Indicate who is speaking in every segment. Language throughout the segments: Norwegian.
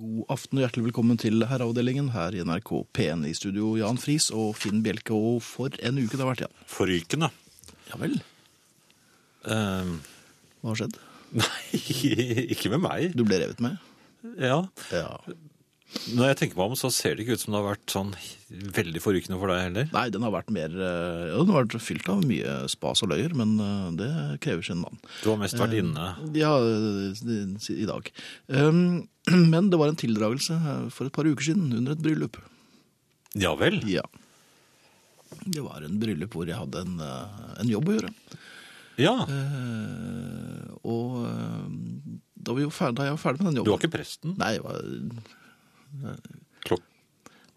Speaker 1: God aften og hjertelig velkommen til Herreavdelingen her i NRK P1 i studio. Jan Friis og Finn Bjelke, og for en uke det har vært, Jan.
Speaker 2: Forrykende.
Speaker 1: Ja vel?
Speaker 2: Ehm,
Speaker 1: Hva har skjedd?
Speaker 2: nei, ikke med meg.
Speaker 1: Du ble revet med?
Speaker 2: Ja.
Speaker 1: Ja.
Speaker 2: Når jeg tenker meg om, så ser det ikke ut som det har vært sånn veldig forrykende for deg heller.
Speaker 1: Nei, den har vært mer eh, Ja, den har vært fylt av mye spas og løyer, men eh, det krever sin mann.
Speaker 2: Du har mest vært
Speaker 1: Ehm,
Speaker 2: inne.
Speaker 1: Ja, eh, i dag. Um, Men det var en tildragelse eh, for et par uker siden under et bryllup.
Speaker 2: Ja vel?
Speaker 1: Ja. Det var en bryllup hvor jeg hadde en, eh, en jobb å gjøre.
Speaker 2: Ja.
Speaker 1: Eh, Og eh, da, vi var ferdig, da jeg var ferdig med den
Speaker 2: Du
Speaker 1: jobben
Speaker 2: var ikke presten?
Speaker 1: Nei, jeg var, jeg
Speaker 2: Klok.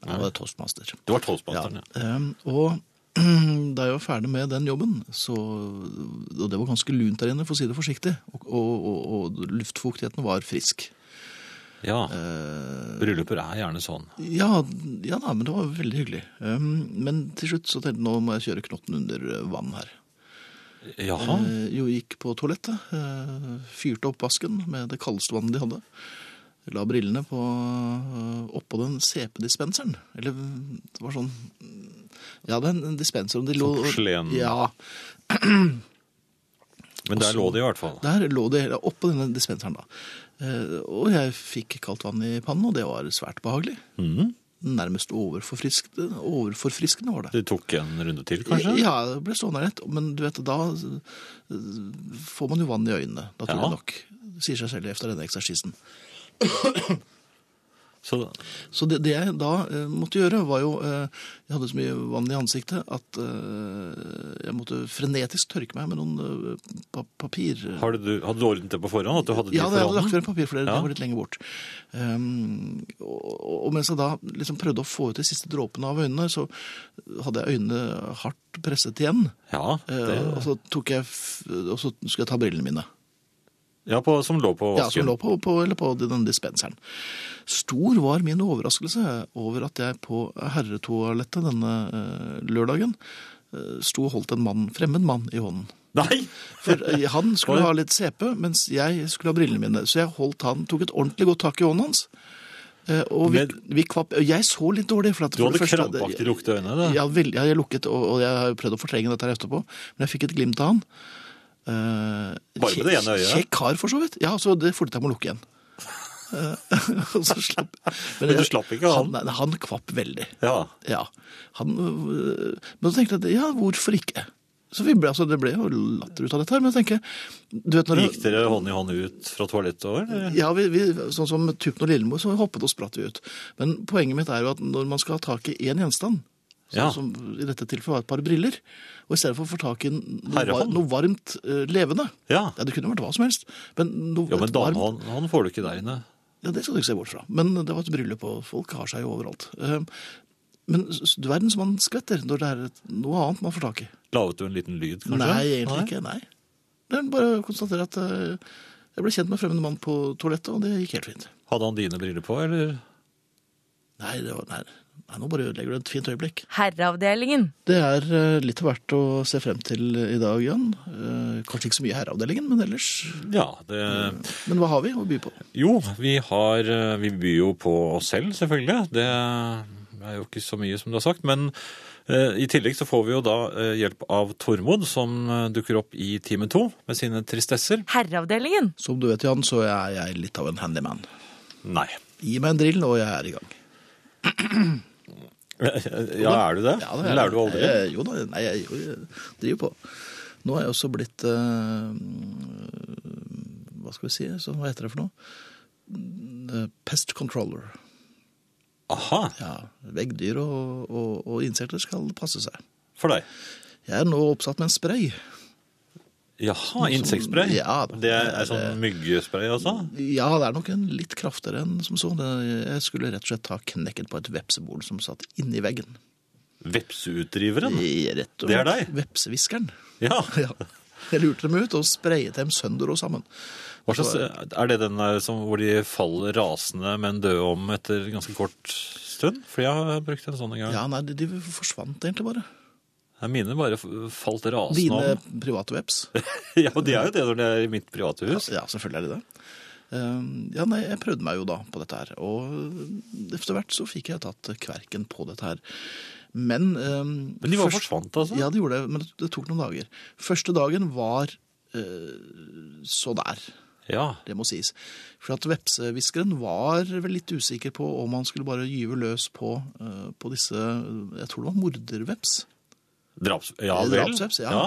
Speaker 1: var toastmaster.
Speaker 2: Du var toastmasteren, ja.
Speaker 1: Ehm, Og da jeg var ferdig med den jobben, så, og det var ganske lunt der inne, for å si det forsiktig, og, og, og, og luftfuktigheten var frisk.
Speaker 2: Ja.
Speaker 1: Eh,
Speaker 2: Brylluper er gjerne sånn.
Speaker 1: ja, ja da, men det var veldig hyggelig. Ehm, men til slutt så tenkte jeg nå må jeg kjøre knotten under eh, vann her.
Speaker 2: Jaha.
Speaker 1: Eh, jo, gikk på toalettet, eh, fyrte opp vasken med det kaldeste vannet de hadde. La brillene på, eh, oppå den CP-dispenseren. Eller mm, det var sånn mm, Ja, det er en- en dispenser. og de lå-
Speaker 2: porselen.
Speaker 1: Ja,
Speaker 2: Men der lå det i hvert fall.
Speaker 1: Der lå det hele oppå denne dispenseren, da. Eh, Og jeg fikk kaldt vann i pannen, og det var svært behagelig.
Speaker 2: Mhm.
Speaker 1: Nærmest overforfriskende, overforfriskende var det.
Speaker 2: Du tok en runde til, kanskje?
Speaker 1: Ja, det ble stående rett, men du vet, da eh, får man jo vann i øynene, naturlig
Speaker 2: Ja.
Speaker 1: nok. Det sier seg selv etter denne eksersisen.
Speaker 2: Så,
Speaker 1: Så det, det jeg da eh, måtte gjøre, var jo eh, Jeg hadde så mye vann i ansiktet at eh, jeg måtte frenetisk tørke meg med noen eh, pa papir...
Speaker 2: hadde, du, hadde du ordnet det på forhånd? At du hadde de
Speaker 1: Ja, det hadde lagt
Speaker 2: forhånden?
Speaker 1: frem papir, for det,
Speaker 2: Ja.
Speaker 1: det var litt lenger bort. Ehm, og, og mens jeg da liksom prøvde å få ut de siste dråpene av øynene, så hadde jeg øynene hardt presset igjen.
Speaker 2: Ja,
Speaker 1: Eh, Og
Speaker 2: det,
Speaker 1: så tok jeg, f- og så skulle jeg ta brillene mine.
Speaker 2: ja på, som lå på
Speaker 1: Ja, som
Speaker 2: vasken.
Speaker 1: lå på, på, eller på den dispenseren. Stor var min overraskelse over at jeg på herretoalettet denne eh, lørdagen eh, sto og holdt en mann, fremmed mann i hånden.
Speaker 2: Nei!
Speaker 1: For eh, han skulle ha litt CP, mens jeg skulle ha brillene mine. Så jeg holdt han, tok et ordentlig godt tak i hånden hans. eh, Og vi,
Speaker 2: Men-
Speaker 1: vi kvapp Jeg så litt dårlig. For at,
Speaker 2: Du
Speaker 1: for
Speaker 2: hadde
Speaker 1: det første-
Speaker 2: krampaktig lukte øynene. da.
Speaker 1: Ja, veldig, ja, jeg lukket, og, og jeg har jo prøvd å fortrenge dette her etterpå. Men jeg fikk et glimt av han. Eh,
Speaker 2: Bare med det ene øyet?
Speaker 1: Kjekk kar, for så vidt. Ja, så det fortet jeg med å lukke igjen. Eh, og så slapp Men,
Speaker 2: Men du
Speaker 1: jeg-
Speaker 2: slapp ikke han?
Speaker 1: Han, nei, han kvapp veldig.
Speaker 2: Ja.
Speaker 1: Ja. Han, øh, men så tenkte jeg, at, ja, hvorfor ikke? Så vi ble, altså, det ble jo latter ut av dette her, men jeg tenker, du vet når det-
Speaker 2: Gikk dere hånd i hånd ut fra toalettet over? eller?
Speaker 1: Ja, vi, vi, sånn som Tuppen og Lillemor, så hoppet og spratt vi ut. Men poenget mitt er jo at når man skal ha tak i én gjenstand, sånn
Speaker 2: Ja.
Speaker 1: som i dette tilfellet var et par briller, og i stedet for å få tak i noe, var,
Speaker 2: Herrehånd.
Speaker 1: noe varmt, øh, levende
Speaker 2: Ja.
Speaker 1: Ja, det kunne vært hva som helst. Men noe,
Speaker 2: Ja, men
Speaker 1: et varmt-
Speaker 2: damehånd hånd får du ikke der inne.
Speaker 1: Ja, det skal du ikke se bort fra. Men det var et bryllup, og folk har seg jo overalt. Eh, Men s- du verden som man skvetter når det er et- noe annet man får tak i.
Speaker 2: Laget du en liten lyd, kanskje?
Speaker 1: Nei, egentlig ikke. Nei. Det er bare å konstatere at eh, jeg ble kjent med fremmede mann på toalettet, og det gikk helt fint.
Speaker 2: Hadde han dine briller på, eller?
Speaker 1: Nei, det var, nei, nei nå bare ødelegger du et fint øyeblikk.
Speaker 3: Herreavdelingen.
Speaker 1: Det er eh, litt av hvert å se frem til i dag, Jan. Eh, Kanskje ikke så mye i herreavdelingen, men ellers.
Speaker 2: Ja, det...
Speaker 1: Men hva har vi å by på?
Speaker 2: Jo, vi har eh, Vi byr jo på oss selv, selvfølgelig. Det er jo ikke så mye, som du har sagt. Men eh, i tillegg så får vi jo da eh, hjelp av Tormod, som eh, dukker opp i time to med sine tristesser.
Speaker 3: Herreavdelingen.
Speaker 1: Som du vet, Jan, så er jeg litt av en handyman.
Speaker 2: Nei.
Speaker 1: Gi meg en drill, og jeg er i gang.
Speaker 2: Ja, er du det?
Speaker 1: Ja, det er
Speaker 2: Lærer du
Speaker 1: det.
Speaker 2: aldri?
Speaker 1: Jeg, jo da, nei, jeg, jo, jeg driver på. Nå er jeg også blitt eh, Hva skal vi si? Så, hva heter det for noe? Eh, Pest controller.
Speaker 2: Aha,
Speaker 1: Ja, Veggdyr og, og, og insekter skal passe seg.
Speaker 2: for deg.
Speaker 1: Jeg er nå oppsatt med en spray.
Speaker 2: Jaha, insektspray?
Speaker 1: Ja, da. Eh,
Speaker 2: det er sånn myggespray, altså?
Speaker 1: Ja, det er nok en litt kraftigere enn som så. Det- Jeg skulle rett og slett ta knekken på et vepsebol som satt inni veggen.
Speaker 2: Vepseutdriveren?
Speaker 1: Rett og
Speaker 2: Det er
Speaker 1: slett
Speaker 2: deg.
Speaker 1: Vepsehviskeren.
Speaker 2: Ja.
Speaker 1: Ja. Jeg lurte dem ut og sprayet dem sønder og sammen.
Speaker 2: Hva slags, er det den der som, hvor de faller rasende, men døde om etter ganske kort stund? For jeg har brukt en sånn en gang.
Speaker 1: Ja, nei, de, de forsvant egentlig bare.
Speaker 2: Nei, Mine bare f- falt rasende
Speaker 1: Dine
Speaker 2: om.
Speaker 1: private veps.
Speaker 2: Ja, og de er jo det når det er i mitt private hus.
Speaker 1: Ja, selvfølgelig er de det. Eh, Ja, nei, jeg prøvde meg jo da på dette her, og etter hvert så fikk jeg tatt kverken på dette her. Men eh,
Speaker 2: Men de var
Speaker 1: først-
Speaker 2: forsvant, altså?
Speaker 1: Ja, det gjorde det, men det- det tok noen dager. Første dagen var eh, så der,
Speaker 2: ja.
Speaker 1: det må sies. For at vepsehviskeren var vel litt usikker på om han skulle bare gyve løs på, eh, på disse Jeg tror det var morderveps.
Speaker 2: Draps... Ja
Speaker 1: Eh,
Speaker 2: vel.
Speaker 1: drapsveps, ja.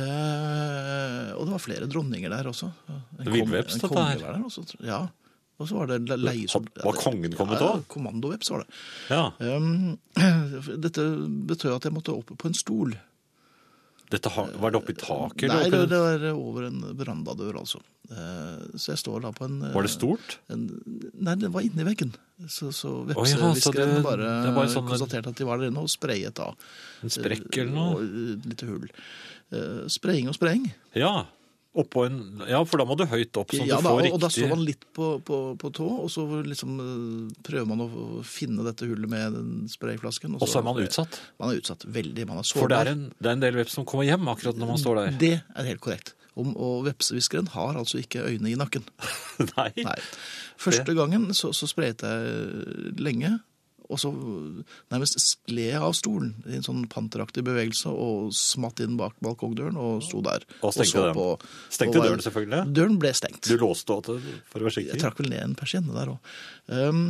Speaker 1: Eh, og det var flere dronninger der også. En kon-
Speaker 2: Villveps,
Speaker 1: en
Speaker 2: dette
Speaker 1: konge
Speaker 2: her.
Speaker 1: var Der også, tror jeg. ja. Og så var det le- leiesoldat-
Speaker 2: Var kongen kommet
Speaker 1: Ja,
Speaker 2: også?
Speaker 1: Kommandoveps var det.
Speaker 2: ja.
Speaker 1: Um, dette betød at jeg måtte opp på en stol.
Speaker 2: Dette har... Var det oppi taket? eller
Speaker 1: Nei,
Speaker 2: oppi-
Speaker 1: det, det var over en verandadør, altså. Eh, så jeg står da på en eh,
Speaker 2: Var det stort?
Speaker 1: En, nei, det var inni veggen. Så, så
Speaker 2: Å ja, så
Speaker 1: vepsehviskeren
Speaker 2: det-
Speaker 1: bare,
Speaker 2: det var sånn-
Speaker 1: konstaterte at de var der inne, og sprayet da.
Speaker 2: En sprekk eller noe?
Speaker 1: Og eh, litt hull. Eh, spraying og spraying.
Speaker 2: Ja. Oppå en... ja, for da må du høyt opp, sånn at
Speaker 1: ja,
Speaker 2: du
Speaker 1: da,
Speaker 2: får
Speaker 1: og,
Speaker 2: riktig
Speaker 1: og da så man litt på, på, på tå, og så liksom eh, prøver man å finne dette hullet med den sprayflasken.
Speaker 2: Og så er man utsatt.
Speaker 1: Man er utsatt veldig. Man er sårbar.
Speaker 2: For det er, en, det er en del veps som kommer hjem akkurat når man står der.
Speaker 1: Det er helt korrekt. Om, og vepsehviskeren har altså ikke øyne i nakken.
Speaker 2: Nei.
Speaker 1: Nei. Første gangen så, så sprayet jeg eh, lenge, og så eh, nærmest skled jeg av stolen i en sånn panteraktig bevegelse og smatt inn bak balkongdøren og sto der.
Speaker 2: Og stengte
Speaker 1: så
Speaker 2: den. Stengte
Speaker 1: på hva-
Speaker 2: døren selvfølgelig?
Speaker 1: Døren ble stengt.
Speaker 2: Du låste åt det, for å være
Speaker 1: Jeg
Speaker 2: sikker?
Speaker 1: trakk vel ned en persienne der òg. Um,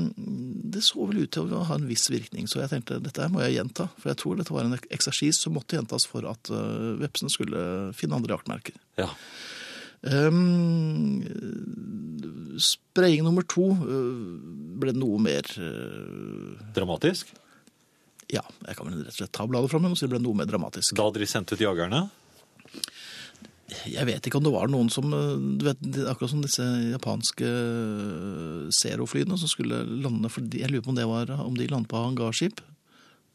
Speaker 1: det så vel ut til å ha en viss virkning, så jeg tenkte dette her må jeg gjenta. For jeg tror dette var en eksersis som måtte gjentas for at uh, vepsene skulle finne andre jaktmerker.
Speaker 2: Ja.
Speaker 1: Um, spraying nummer to øh, ble noe mer øh,
Speaker 2: Dramatisk.
Speaker 1: Ja, jeg kan vel rett og slett ta bladet fra meg og si det ble noe mer dramatisk.
Speaker 2: Da hadde de sendt ut jagerne.
Speaker 1: Jeg vet ikke om det var noen som øh, du vet, det er Akkurat som disse japanske øh, Zero-flyene som skulle lande for de, Jeg lurer på om, det var, om de landet på hangarskip.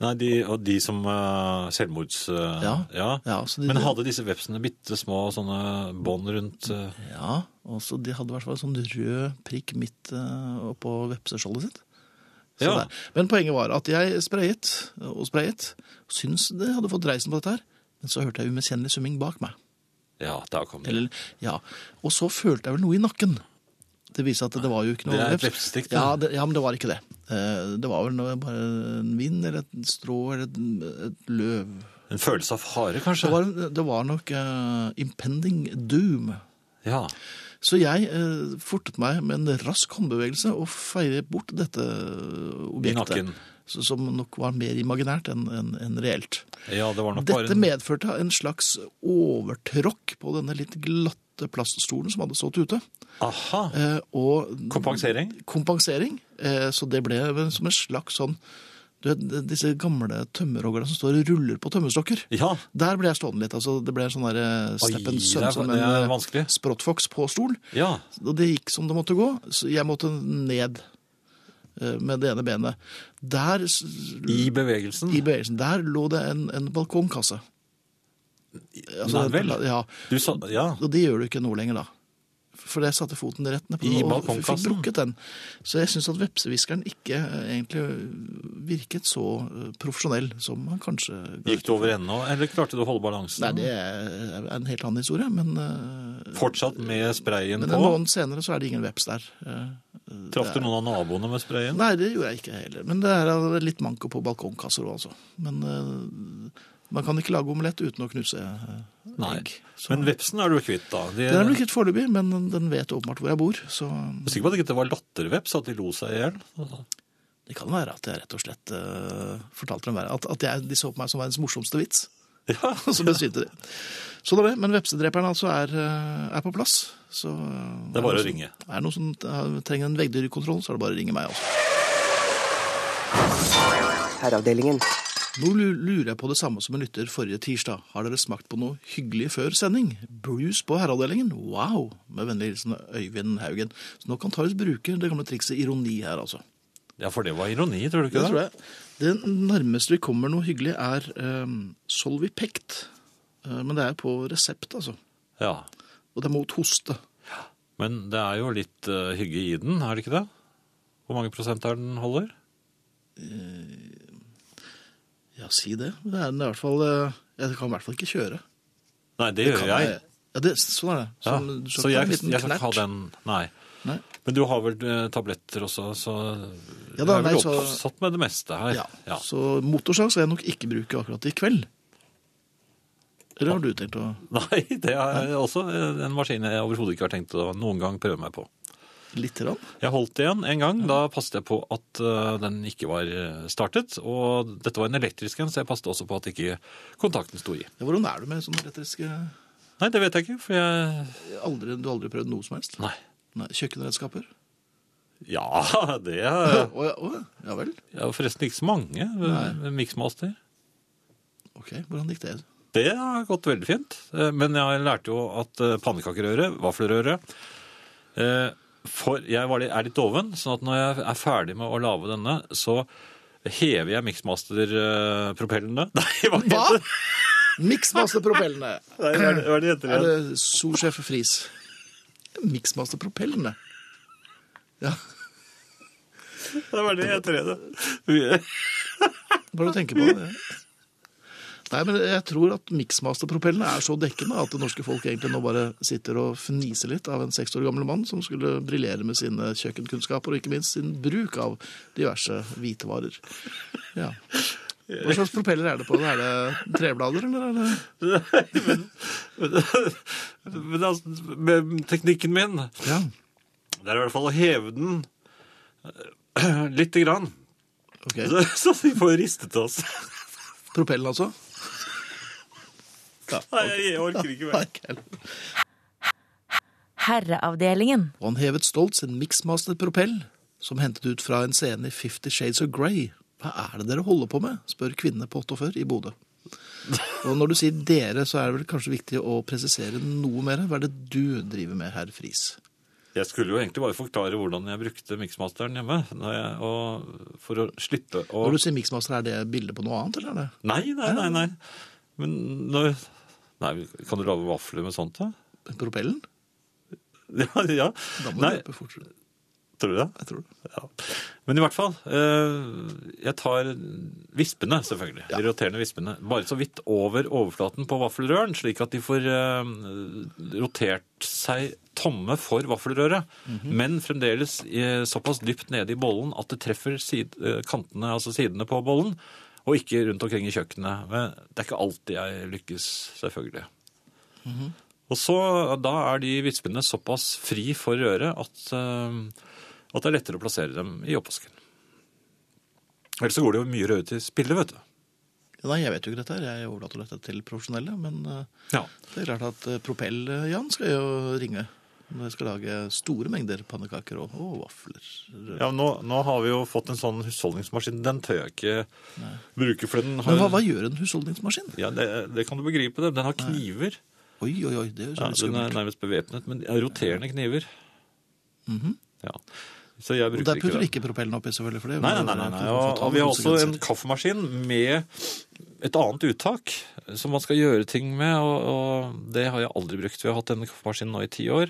Speaker 2: Nei, de, og de som eh, selvmords... eh,
Speaker 1: Ja.
Speaker 2: ja.
Speaker 1: Ja, så de,
Speaker 2: Men hadde disse vepsene bitte små sånne bånd rundt eh,
Speaker 1: ja, og så de hadde i hvert fall en sånn rød prikk midt øh, oppå vepseskjoldet sitt. Så
Speaker 2: Ja.
Speaker 1: der. Men poenget var at jeg sprayet og sprayet. Syns det hadde fått reisen på dette her. Men så hørte jeg umiskjennelig summing bak meg.
Speaker 2: Ja, der kom de.
Speaker 1: Eller, ja. Og så følte jeg vel noe i nakken. Det viste at det var jo ikke noe
Speaker 2: Det er et
Speaker 1: veps.
Speaker 2: vepsestikk, det.
Speaker 1: Ja, det, ja, men det var ikke det. Eh, Det var vel noe, bare en vind eller et strå eller et, et løv.
Speaker 2: En følelse av fare,
Speaker 1: Det
Speaker 2: kanskje?
Speaker 1: var, det var nok eh, impending doom.
Speaker 2: Ja.
Speaker 1: Så jeg eh, fortet meg med en rask håndbevegelse og feide bort dette eh, objektet.
Speaker 2: nakken.
Speaker 1: s- Som nok var mer imaginært enn enn- enn reelt.
Speaker 2: ja, det var nok bare
Speaker 1: Dette
Speaker 2: en
Speaker 1: medførte en slags overtråkk på denne litt glatte plaststolen som hadde stått ute.
Speaker 2: Aha!
Speaker 1: Eh, og
Speaker 2: Kompensering?
Speaker 1: Kompensering. Eh, så det ble vel som en slags sånn du vet, Disse gamle tømmerhoggerne som står og ruller på tømmerstokker.
Speaker 2: Ja.
Speaker 1: Der ble jeg stående litt. altså Det ble en sånn der eh, steppen
Speaker 2: det
Speaker 1: sønn
Speaker 2: er-
Speaker 1: som
Speaker 2: det
Speaker 1: en
Speaker 2: er
Speaker 1: eh,
Speaker 2: vanskelig.
Speaker 1: sprottfox på stol.
Speaker 2: ja.
Speaker 1: Og det gikk som det måtte gå. Så jeg måtte ned eh, med det ene benet. Der, s-
Speaker 2: I bevegelsen.
Speaker 1: i bevegelsen, der lå det en, en balkongkasse. Altså,
Speaker 2: Nei vel.
Speaker 1: Ja,
Speaker 2: Du sa Ja.
Speaker 1: og det gjør du ikke nå lenger, da. For jeg satte foten rett ned på
Speaker 2: I
Speaker 1: den og
Speaker 2: balkongkassen?
Speaker 1: fikk brukket den. Så jeg syns at vepsehviskeren ikke eh, egentlig virket så eh, profesjonell som han kanskje
Speaker 2: Gikk du over ende, eller klarte du å holde balansen?
Speaker 1: Nei, det er en helt annen historie, men, eh,
Speaker 2: Fortsatt med sprayen
Speaker 1: men
Speaker 2: på?
Speaker 1: en måned senere så er det ingen veps der. Eh,
Speaker 2: Traff du noen av naboene med sprayen?
Speaker 1: Nei, det gjorde jeg ikke heller. Men det er litt manko på balkongkasser òg, altså. Men eh, man kan ikke lage omelett uten å knuse eh,
Speaker 2: Nei.
Speaker 1: egg. Så,
Speaker 2: Men vepsen er du kvitt, da. De,
Speaker 1: den er blitt kvitt foreløpig, men den vet åpenbart hvor jeg bor. Så
Speaker 2: Jeg er sikker på at det ikke var latterveps, at de lo seg i hjel?
Speaker 1: det kan være at jeg rett og slett eh, fortalte dem verre. At, at jeg, de så på meg som verdens morsomste vits.
Speaker 2: Ja.
Speaker 1: Og så besvimte de. Sånn er det. Men vepsedreperen altså er, eh, er på plass. Så eh,
Speaker 2: Det er
Speaker 1: noen
Speaker 2: bare å
Speaker 1: som-
Speaker 2: ringe.
Speaker 1: Er det noen som eh, trenger en veggdyrkontroll, så er det bare å ringe meg. altså.
Speaker 3: Herreavdelingen.
Speaker 1: Nå lu- lurer jeg på det samme som en lytter forrige tirsdag. Har dere smakt på noe hyggelig før sending? Bruce på herreavdelingen? Wow! Med vennlig hilsen Øyvind Haugen. Så nå kan Tarius bruke det gamle trikset ironi her, altså.
Speaker 2: ja, for det var ironi, tror du ikke
Speaker 1: Det
Speaker 2: det?
Speaker 1: tror jeg. Det nærmeste vi kommer noe hyggelig, er um, Solvipekt. Eh, men det er på resept, altså.
Speaker 2: Ja.
Speaker 1: Og det er mot hoste.
Speaker 2: Men det er jo litt eh, hygge i den, er det ikke det? Hvor mange prosent er den holder?
Speaker 1: Ja, si det. Det er den i hvert fall eh, Jeg kan i hvert fall ikke kjøre.
Speaker 2: Nei, det, gjør
Speaker 1: Kan
Speaker 2: jeg.
Speaker 1: Ja, det, sånn er det.
Speaker 2: Ja.
Speaker 1: Sånn, du skal
Speaker 2: Så
Speaker 1: ikke ha
Speaker 2: jeg,
Speaker 1: en
Speaker 2: jeg
Speaker 1: liten
Speaker 2: skal ikke ha
Speaker 1: knert.
Speaker 2: den, nei.
Speaker 1: Nei.
Speaker 2: Men du har vel eh, tabletter også, så
Speaker 1: Ja
Speaker 2: du
Speaker 1: da,
Speaker 2: er vel
Speaker 1: nei, så-
Speaker 2: oppsatt med det meste her.
Speaker 1: Ja. Så motorsag skal jeg nok ikke bruke akkurat i kveld. Eller har du tenkt å
Speaker 2: Nei, det er også eh, en maskin jeg overhodet ikke har tenkt å noen gang prøve meg på.
Speaker 1: lite grann?
Speaker 2: Jeg holdt igjen en gang. Da passet jeg på at eh, den ikke var eh, startet. Og dette var en elektrisk en, så jeg passet også på at ikke kontakten sto i.
Speaker 1: Ja, hvordan er du med sånne elektriske
Speaker 2: Nei, det vet jeg ikke, for jeg
Speaker 1: aldri, Du har aldri prøvd noe som helst?
Speaker 2: Nei.
Speaker 1: Nei, Kjøkkenredskaper?
Speaker 2: Ja, det
Speaker 1: Å
Speaker 2: er
Speaker 1: ja, å ja, ja vel.
Speaker 2: ja, forresten ikke så mange. eh, Mixmaster.
Speaker 1: Ok, hvordan gikk det?
Speaker 2: Det har gått veldig fint. Eh, Men jeg lærte jo at eh, pannekakerøre, vaffelrøre eh, For jeg var litt, er litt doven, sånn at når jeg er ferdig med å lage denne, så hever jeg Mixmaster-propellene. Nei, hva
Speaker 1: Hva?
Speaker 2: heter det?
Speaker 1: Mixmasterpropellene!
Speaker 2: Nei, hva er det- hva er det heter
Speaker 1: Er
Speaker 2: igjen?
Speaker 1: det Solsjef Friis? Mixmasterpropellene? Ja,
Speaker 2: Det var det heter det.
Speaker 1: bare å tenke på det. Nei, men jeg tror at Mixmasterpropellene er så dekkende at det norske folk egentlig nå bare sitter og fniser litt av en seks år gammel mann som skulle briljere med sine kjøkkenkunnskaper og ikke minst sin bruk av diverse hvitevarer. Ja. Hva slags propeller er det på? Er det treblader, eller er det
Speaker 2: men, men, men altså, med teknikken min
Speaker 1: Ja.
Speaker 2: Det er i hvert fall å heve den eh, lite grann.
Speaker 1: Ok.
Speaker 2: Så, så vi får ristet oss.
Speaker 1: Propellen, altså? Ja.
Speaker 2: Nei, jeg orker ikke mer.
Speaker 1: Nei,
Speaker 3: Herreavdelingen.
Speaker 1: Og han hevet stolt sin Mixmaster-propell, som hentet ut fra en scene i Fifty Shades of Grey. Hva er det dere holder på med? spør kvinnene på 48 i Bodø. Og når du sier dere, så er det vel kanskje viktig å presisere noe mer. Hva er det du driver med, herr Friis?
Speaker 2: Jeg skulle jo egentlig bare forklare hvordan jeg brukte miksmasteren hjemme. Når jeg, og, for å slippe å
Speaker 1: Når du sier Mixmaster, er det bildet på noe annet, eller er det?
Speaker 2: Nei, nei, nei. nei. Men når Nei, kan du lage vafler med sånt, da?
Speaker 1: propellen?
Speaker 2: Ja, ja.
Speaker 1: Da må du
Speaker 2: Nei,
Speaker 1: løpe fortere.
Speaker 2: tror du det?
Speaker 1: Jeg tror det.
Speaker 2: Ja. Men i hvert fall, eh, jeg tar vispene, selvfølgelig. De roterende vispene. Bare så vidt over overflaten på vaffelrøren, slik at de får eh, rotert seg tomme for vaffelrøret. Men fremdeles eh, såpass dypt nede i bollen at det treffer sid- eh, kantene, altså sidene på bollen, og ikke rundt omkring i kjøkkenet. Men det er ikke alltid jeg lykkes, selvfølgelig. Og så, da er de vispene såpass fri for røret at, eh, at det er lettere å plassere dem i oppvasken. Ellers så går det jo mye røde til spille, vet du.
Speaker 1: Nei, jeg vet jo ikke dette her. Jeg overlater dette til profesjonelle. Men eh,
Speaker 2: Ja.
Speaker 1: det er klart at eh, propell, eh, Jan, skal jo ringe. Når jeg skal lage store mengder pannekaker og, og vafler.
Speaker 2: nå, nå har vi jo fått en sånn husholdningsmaskin. Den tør jeg ikke bruke, for den har
Speaker 1: Men hva, hva gjør en husholdningsmaskin?
Speaker 2: Ja, det, det kan du begripe. det. Den har kniver.
Speaker 1: Oi, oi, oi, det er jo så litt
Speaker 2: Ja, den er
Speaker 1: skummelt.
Speaker 2: nærmest bevæpnet, men det er roterende kniver. Ja. Så jeg
Speaker 1: Mhm. Og
Speaker 2: bruker
Speaker 1: der
Speaker 2: ikke
Speaker 1: putter
Speaker 2: den.
Speaker 1: du ikke propellen oppi, selvfølgelig. for det er jo-
Speaker 2: Nei, nei, nei. nei, nei. Og, og vi har også en kaffemaskin med et annet uttak som man skal gjøre ting med, og, og det har jeg aldri brukt. Vi har hatt denne kaffemaskinen nå i ti år.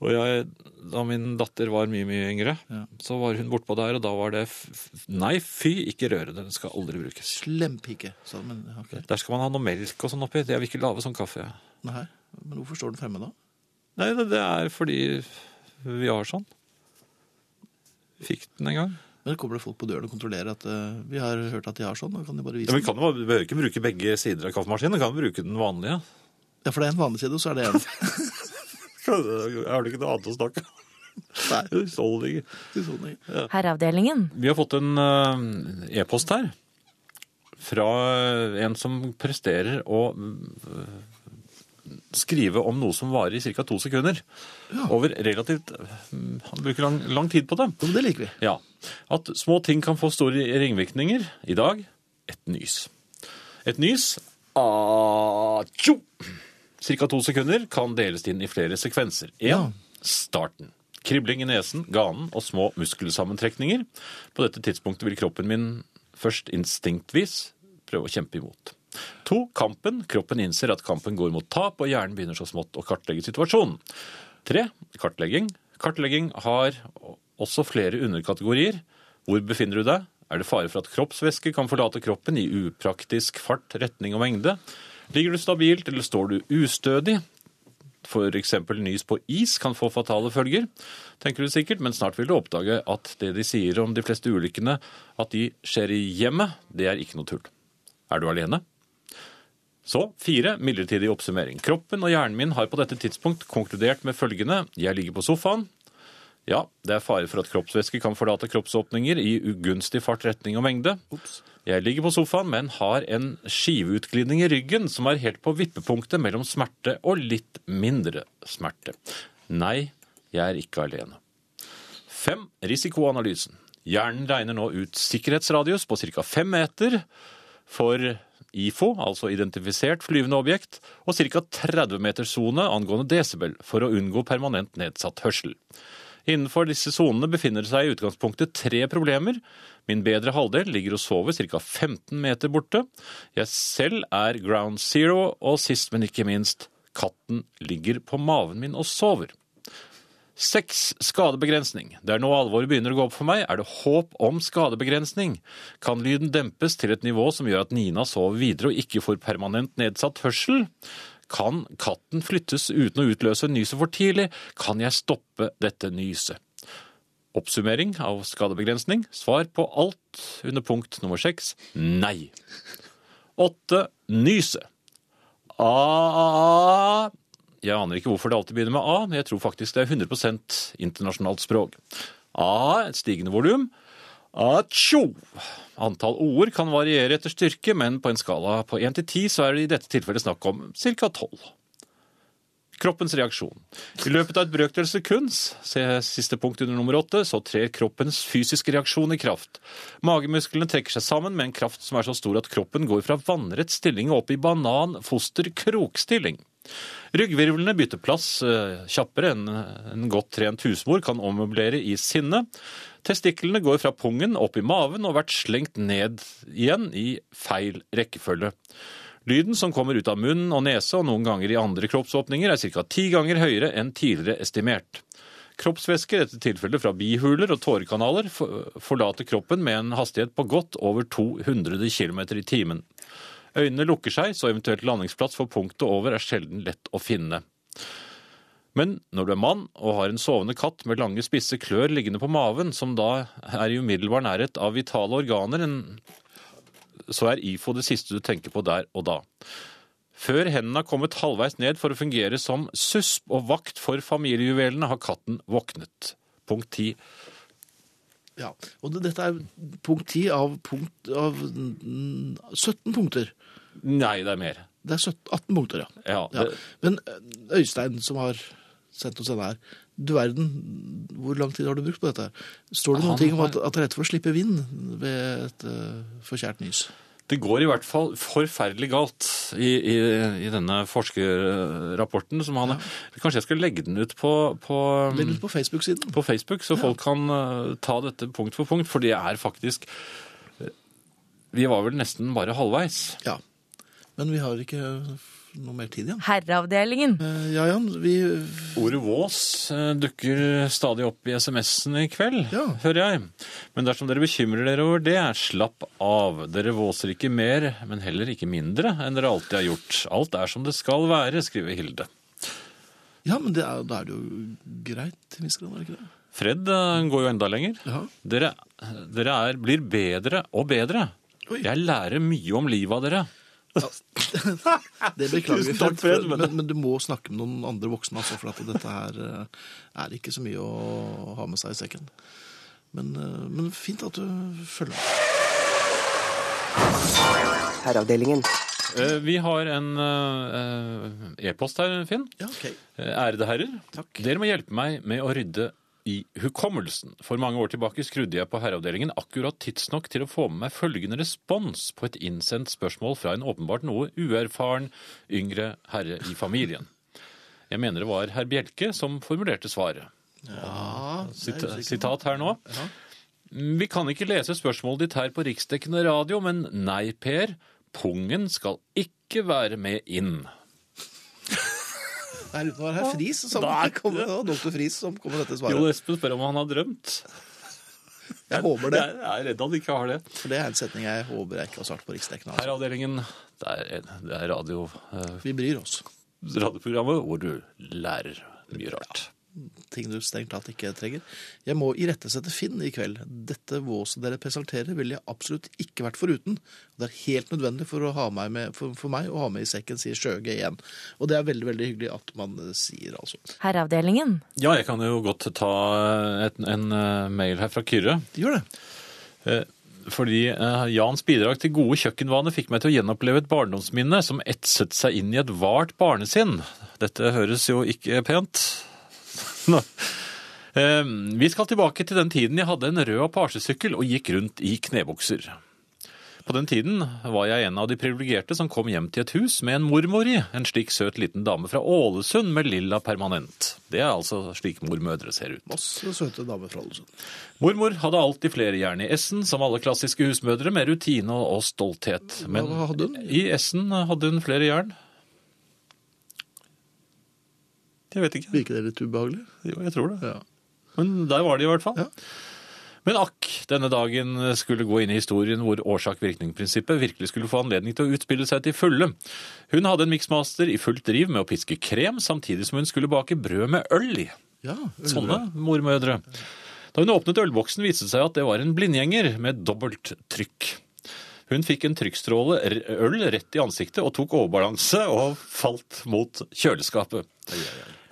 Speaker 2: Og jeg, da min datter var mye, mye yngre,
Speaker 1: Ja.
Speaker 2: så var hun bortpå der, og da var det f f- Nei, fy, ikke røre det. Den skal aldri brukes.
Speaker 1: Slempike, sa han. Men, ja, ok.
Speaker 2: Der skal man ha noe melk og sånn oppi. Jeg vil ikke lage sånn kaffe.
Speaker 1: nei, men hvorfor står den fremme da?
Speaker 2: Nei, det, det er fordi vi har sånn. Fikk den en gang.
Speaker 1: Men kommer det folk på døren og kontrollerer at eh, vi har hørt at de har sånn, og kan de bare vise
Speaker 2: Ja, men
Speaker 1: den?
Speaker 2: kan du, du behøver ikke bruke begge sider av kaffemaskinen. Du kan bruke den vanlige.
Speaker 1: Ja, for det er en vanlig side, og så er det en.
Speaker 2: Har du ikke noe annet å snakke om?
Speaker 1: Nei,
Speaker 2: Husholdninger.
Speaker 1: husholdning.
Speaker 3: Herreavdelingen.
Speaker 2: Vi har fått en eh, e-post her fra en som presterer å eh, skrive om noe som varer i ca. to sekunder. Over relativt mm, Han bruker lang, lang tid på det.
Speaker 1: Ja, men det liker vi.
Speaker 2: Ja. At små ting kan få store ringvirkninger. I dag et nys. Et nys Ah, Atjo! Cirka to sekunder kan deles inn i flere sekvenser. En,
Speaker 1: Ja.
Speaker 2: starten. Kribling i nesen, ganen og små muskelsammentrekninger. På dette tidspunktet vil kroppen min først instinktvis prøve å kjempe imot. To, kampen. Kroppen innser at kampen går mot tap, og hjernen begynner så smått å kartlegge situasjonen. Tre, kartlegging. Kartlegging har også flere underkategorier. Hvor befinner du deg? Er det fare for at kroppsvæske kan forlate kroppen i upraktisk fart, retning og mengde? Ligger du stabilt, eller står du ustødig? F.eks. nys på is kan få fatale følger, tenker du sikkert, men snart vil du oppdage at det de sier om de fleste ulykkene, at de skjer i hjemmet, det er ikke noe tull. Er du alene? Så fire, midlertidig oppsummering. Kroppen og hjernen min har på dette tidspunkt konkludert med følgende. Jeg ligger på sofaen. Ja, det er fare for at kroppsvæske kan forlate kroppsåpninger i ugunstig fart, retning og mengde. Jeg ligger på sofaen, men har en skiveutglidning i ryggen som er helt på vippepunktet mellom smerte og litt mindre smerte. Nei, jeg er ikke alene. Fem, risikoanalysen. Hjernen regner nå ut sikkerhetsradius på ca. fem meter for IFO, altså identifisert flyvende objekt, og ca. 30 meters sone angående desibel for å unngå permanent nedsatt hørsel. Innenfor disse sonene befinner det seg i utgangspunktet tre problemer. Min bedre halvdel ligger og sover ca. 15 meter borte. Jeg selv er ground zero, og sist, men ikke minst, katten ligger på maven min og sover. Seks skadebegrensning. Det er nå alvoret begynner å gå opp for meg. Er det håp om skadebegrensning? Kan lyden dempes til et nivå som gjør at Nina sover videre og ikke får permanent nedsatt hørsel? Kan katten flyttes uten å utløse nyset for tidlig? Kan jeg stoppe dette nyset? Oppsummering av skadebegrensning. Svar på alt under punkt nummer seks nei. Åtte nyset. A jeg aner ikke hvorfor det alltid begynner med A, men jeg tror faktisk det er 100 internasjonalt språk. A, et stigende volum. Atsjo! Antall ord kan variere etter styrke, men på en skala på 1 til 10 så er det i dette tilfellet snakk om ca. 12. Kroppens reaksjon. I løpet av et brøkdel sekund, se siste punkt under nummer åtte, så trer kroppens fysiske reaksjon i kraft. Magemusklene trekker seg sammen med en kraft som er så stor at kroppen går fra vannrett stilling og opp i banan-foster-krokstilling. Ryggvirvlene bytter plass eh, kjappere enn en godt trent husmor kan ommøblere i sinne. Testiklene går fra pungen opp i maven og har vært slengt ned igjen i feil rekkefølge. Lyden som kommer ut av munn og nese og noen ganger i andre kroppsåpninger, er ca. ti ganger høyere enn tidligere estimert. Kroppsvæsker, i dette tilfellet fra bihuler og tårekanaler, for- forlater kroppen med en hastighet på godt over 200 km i timen. Øynene lukker seg, så eventuelt landingsplass for punktet over er sjelden lett å finne. Men når du er mann og har en sovende katt med lange, spisse klør liggende på maven, som da er i umiddelbar nærhet av vitale organer, en- så er IFO det siste du tenker på der og da. Før hendene har kommet halvveis ned for å fungere som susp og vakt for familiejuvelene, har katten våknet. Punkt 10.
Speaker 1: Ja, og det, dette er punkt 10 av, punkt, av mm, 17 punkter.
Speaker 2: Nei, det er mer.
Speaker 1: Det er 17, 18 punkter, ja.
Speaker 2: Ja,
Speaker 1: ja.
Speaker 2: det,
Speaker 1: Men eh, Øystein, som har sendt oss denne her, du verden, hvor lang tid har du brukt på dette? her? Står det
Speaker 2: Han
Speaker 1: noen ting om
Speaker 2: har-
Speaker 1: at, at det er rett for å slippe vind ved et eh, forkjært nys?
Speaker 2: det går i hvert fall forferdelig galt i, i, i denne forskerrapporten. som han... Kanskje jeg skal legge den ut på, på,
Speaker 1: Legg ut på Facebook-siden.
Speaker 2: på Facebook, så folk kan eh, ta dette punkt for punkt. For det er faktisk eh, Vi var vel nesten bare halvveis.
Speaker 1: Ja. Men vi har ikke noe mer tid igjen.
Speaker 3: Herreavdelingen.
Speaker 1: Eh, Ja, Jan, vi
Speaker 2: Ordet vås eh, dukker stadig opp i SMS-en i kveld,
Speaker 1: Ja.
Speaker 2: hører jeg. Men dersom dere bekymrer dere over det, slapp av. Dere våser ikke mer, men heller ikke mindre enn dere alltid har gjort. Alt er som det skal være, skriver Hilde.
Speaker 1: Ja, men det er, da er det jo greit til en viss grad, er det ikke det?
Speaker 2: Fred eh, går jo enda lenger.
Speaker 1: Ja.
Speaker 2: Dere, dere er, blir bedre og bedre.
Speaker 1: Oi.
Speaker 2: Jeg lærer mye om livet av dere.
Speaker 1: Det beklager vi,
Speaker 2: Tusen takk,
Speaker 1: Fred,
Speaker 2: Fred, men-
Speaker 1: men, men du må snakke med noen andre voksne, altså, for at dette her eh, er ikke så mye å ha med seg i sekken. Men, eh, men fint at du følger med.
Speaker 4: Herreavdelingen.
Speaker 2: Eh, Vi har en eh, eh, e-post her, Finn.
Speaker 1: Ja, ok.
Speaker 2: Eh, Ærede herrer,
Speaker 1: Takk.
Speaker 2: dere må hjelpe meg med å rydde i hukommelsen. For mange år tilbake skrudde jeg på herreavdelingen akkurat tidsnok til å få med meg følgende respons på et innsendt spørsmål fra en åpenbart noe uerfaren yngre herre i familien. Jeg mener det var herr Bjelke som formulerte svaret.
Speaker 1: Ja, det
Speaker 2: Sita-
Speaker 1: er usikker.
Speaker 2: sitat her nå.
Speaker 1: Ja.
Speaker 2: Vi kan ikke lese spørsmålet ditt her på riksdekkende radio, men nei, Per, pungen skal ikke være med inn.
Speaker 1: Nei, uten å være herr Friis, som kom, det var doktor Friis som kom med dette
Speaker 2: Jo
Speaker 1: svaret.
Speaker 2: Espen spør om han har drømt.
Speaker 1: Jeg håper det,
Speaker 2: Jeg er redd han ikke har det.
Speaker 1: for det er en setning jeg håper jeg ikke har svart på riksdekken. Altså.
Speaker 2: Herreavdelingen, det er, det er radio. eh,
Speaker 1: Vi bryr oss.
Speaker 2: radioprogrammet hvor du lærer mye rart.
Speaker 1: ting du strengt tatt ikke trenger. Jeg må irettesette Finn i kveld. Dette våset dere presenterer, ville jeg absolutt ikke vært foruten. Det er helt nødvendig for, å ha meg med, for, for meg å ha med i sekken, sier Sjøge igjen. Og det er veldig veldig hyggelig at man eh, sier, altså.
Speaker 3: Herreavdelingen.
Speaker 2: Ja, jeg kan jo godt ta et, en eh, mail her fra Kyrre.
Speaker 1: Gjør det.
Speaker 2: Eh, Fordi eh, Jans bidrag til gode kjøkkenvaner fikk meg til å gjenoppleve et barndomsminne som etset seg inn i et vart barnesinn. Dette høres jo ikke pent. Nå. Eh, Vi skal tilbake til den tiden jeg hadde en rød apasjesykkel og gikk rundt i knebukser. På den tiden var jeg en av de privilegerte som kom hjem til et hus med en mormor i, en slik søt liten dame fra Ålesund med lilla permanent. Det er altså slik mormødre ser ut.
Speaker 1: Masse søte damer fra Ålesund.
Speaker 2: Mormor hadde alltid flere jern i essen, som alle klassiske husmødre, med rutine og, og stolthet. Men
Speaker 1: Hva hadde hun?
Speaker 2: i essen hadde hun flere jern. Jeg vet ikke.
Speaker 1: Virker det litt ubehagelig?
Speaker 2: Jo, jeg tror det.
Speaker 1: Ja.
Speaker 2: Men der var de i hvert fall.
Speaker 1: Ja.
Speaker 2: Men akk, denne dagen skulle gå inn i historien hvor årsak-virkning-prinsippet virkelig skulle få anledning til å utspille seg til fulle. Hun hadde en miksmaster i fullt driv med å piske krem, samtidig som hun skulle bake brød med øl i.
Speaker 1: ja Sånn ølbrød.
Speaker 2: Sånne mormødre. Da hun åpnet ølboksen, viste det seg at det var en blindgjenger med dobbelt trykk. Hun fikk en trykkstråle r- øl rett i ansiktet og tok overbalanse og falt mot kjøleskapet.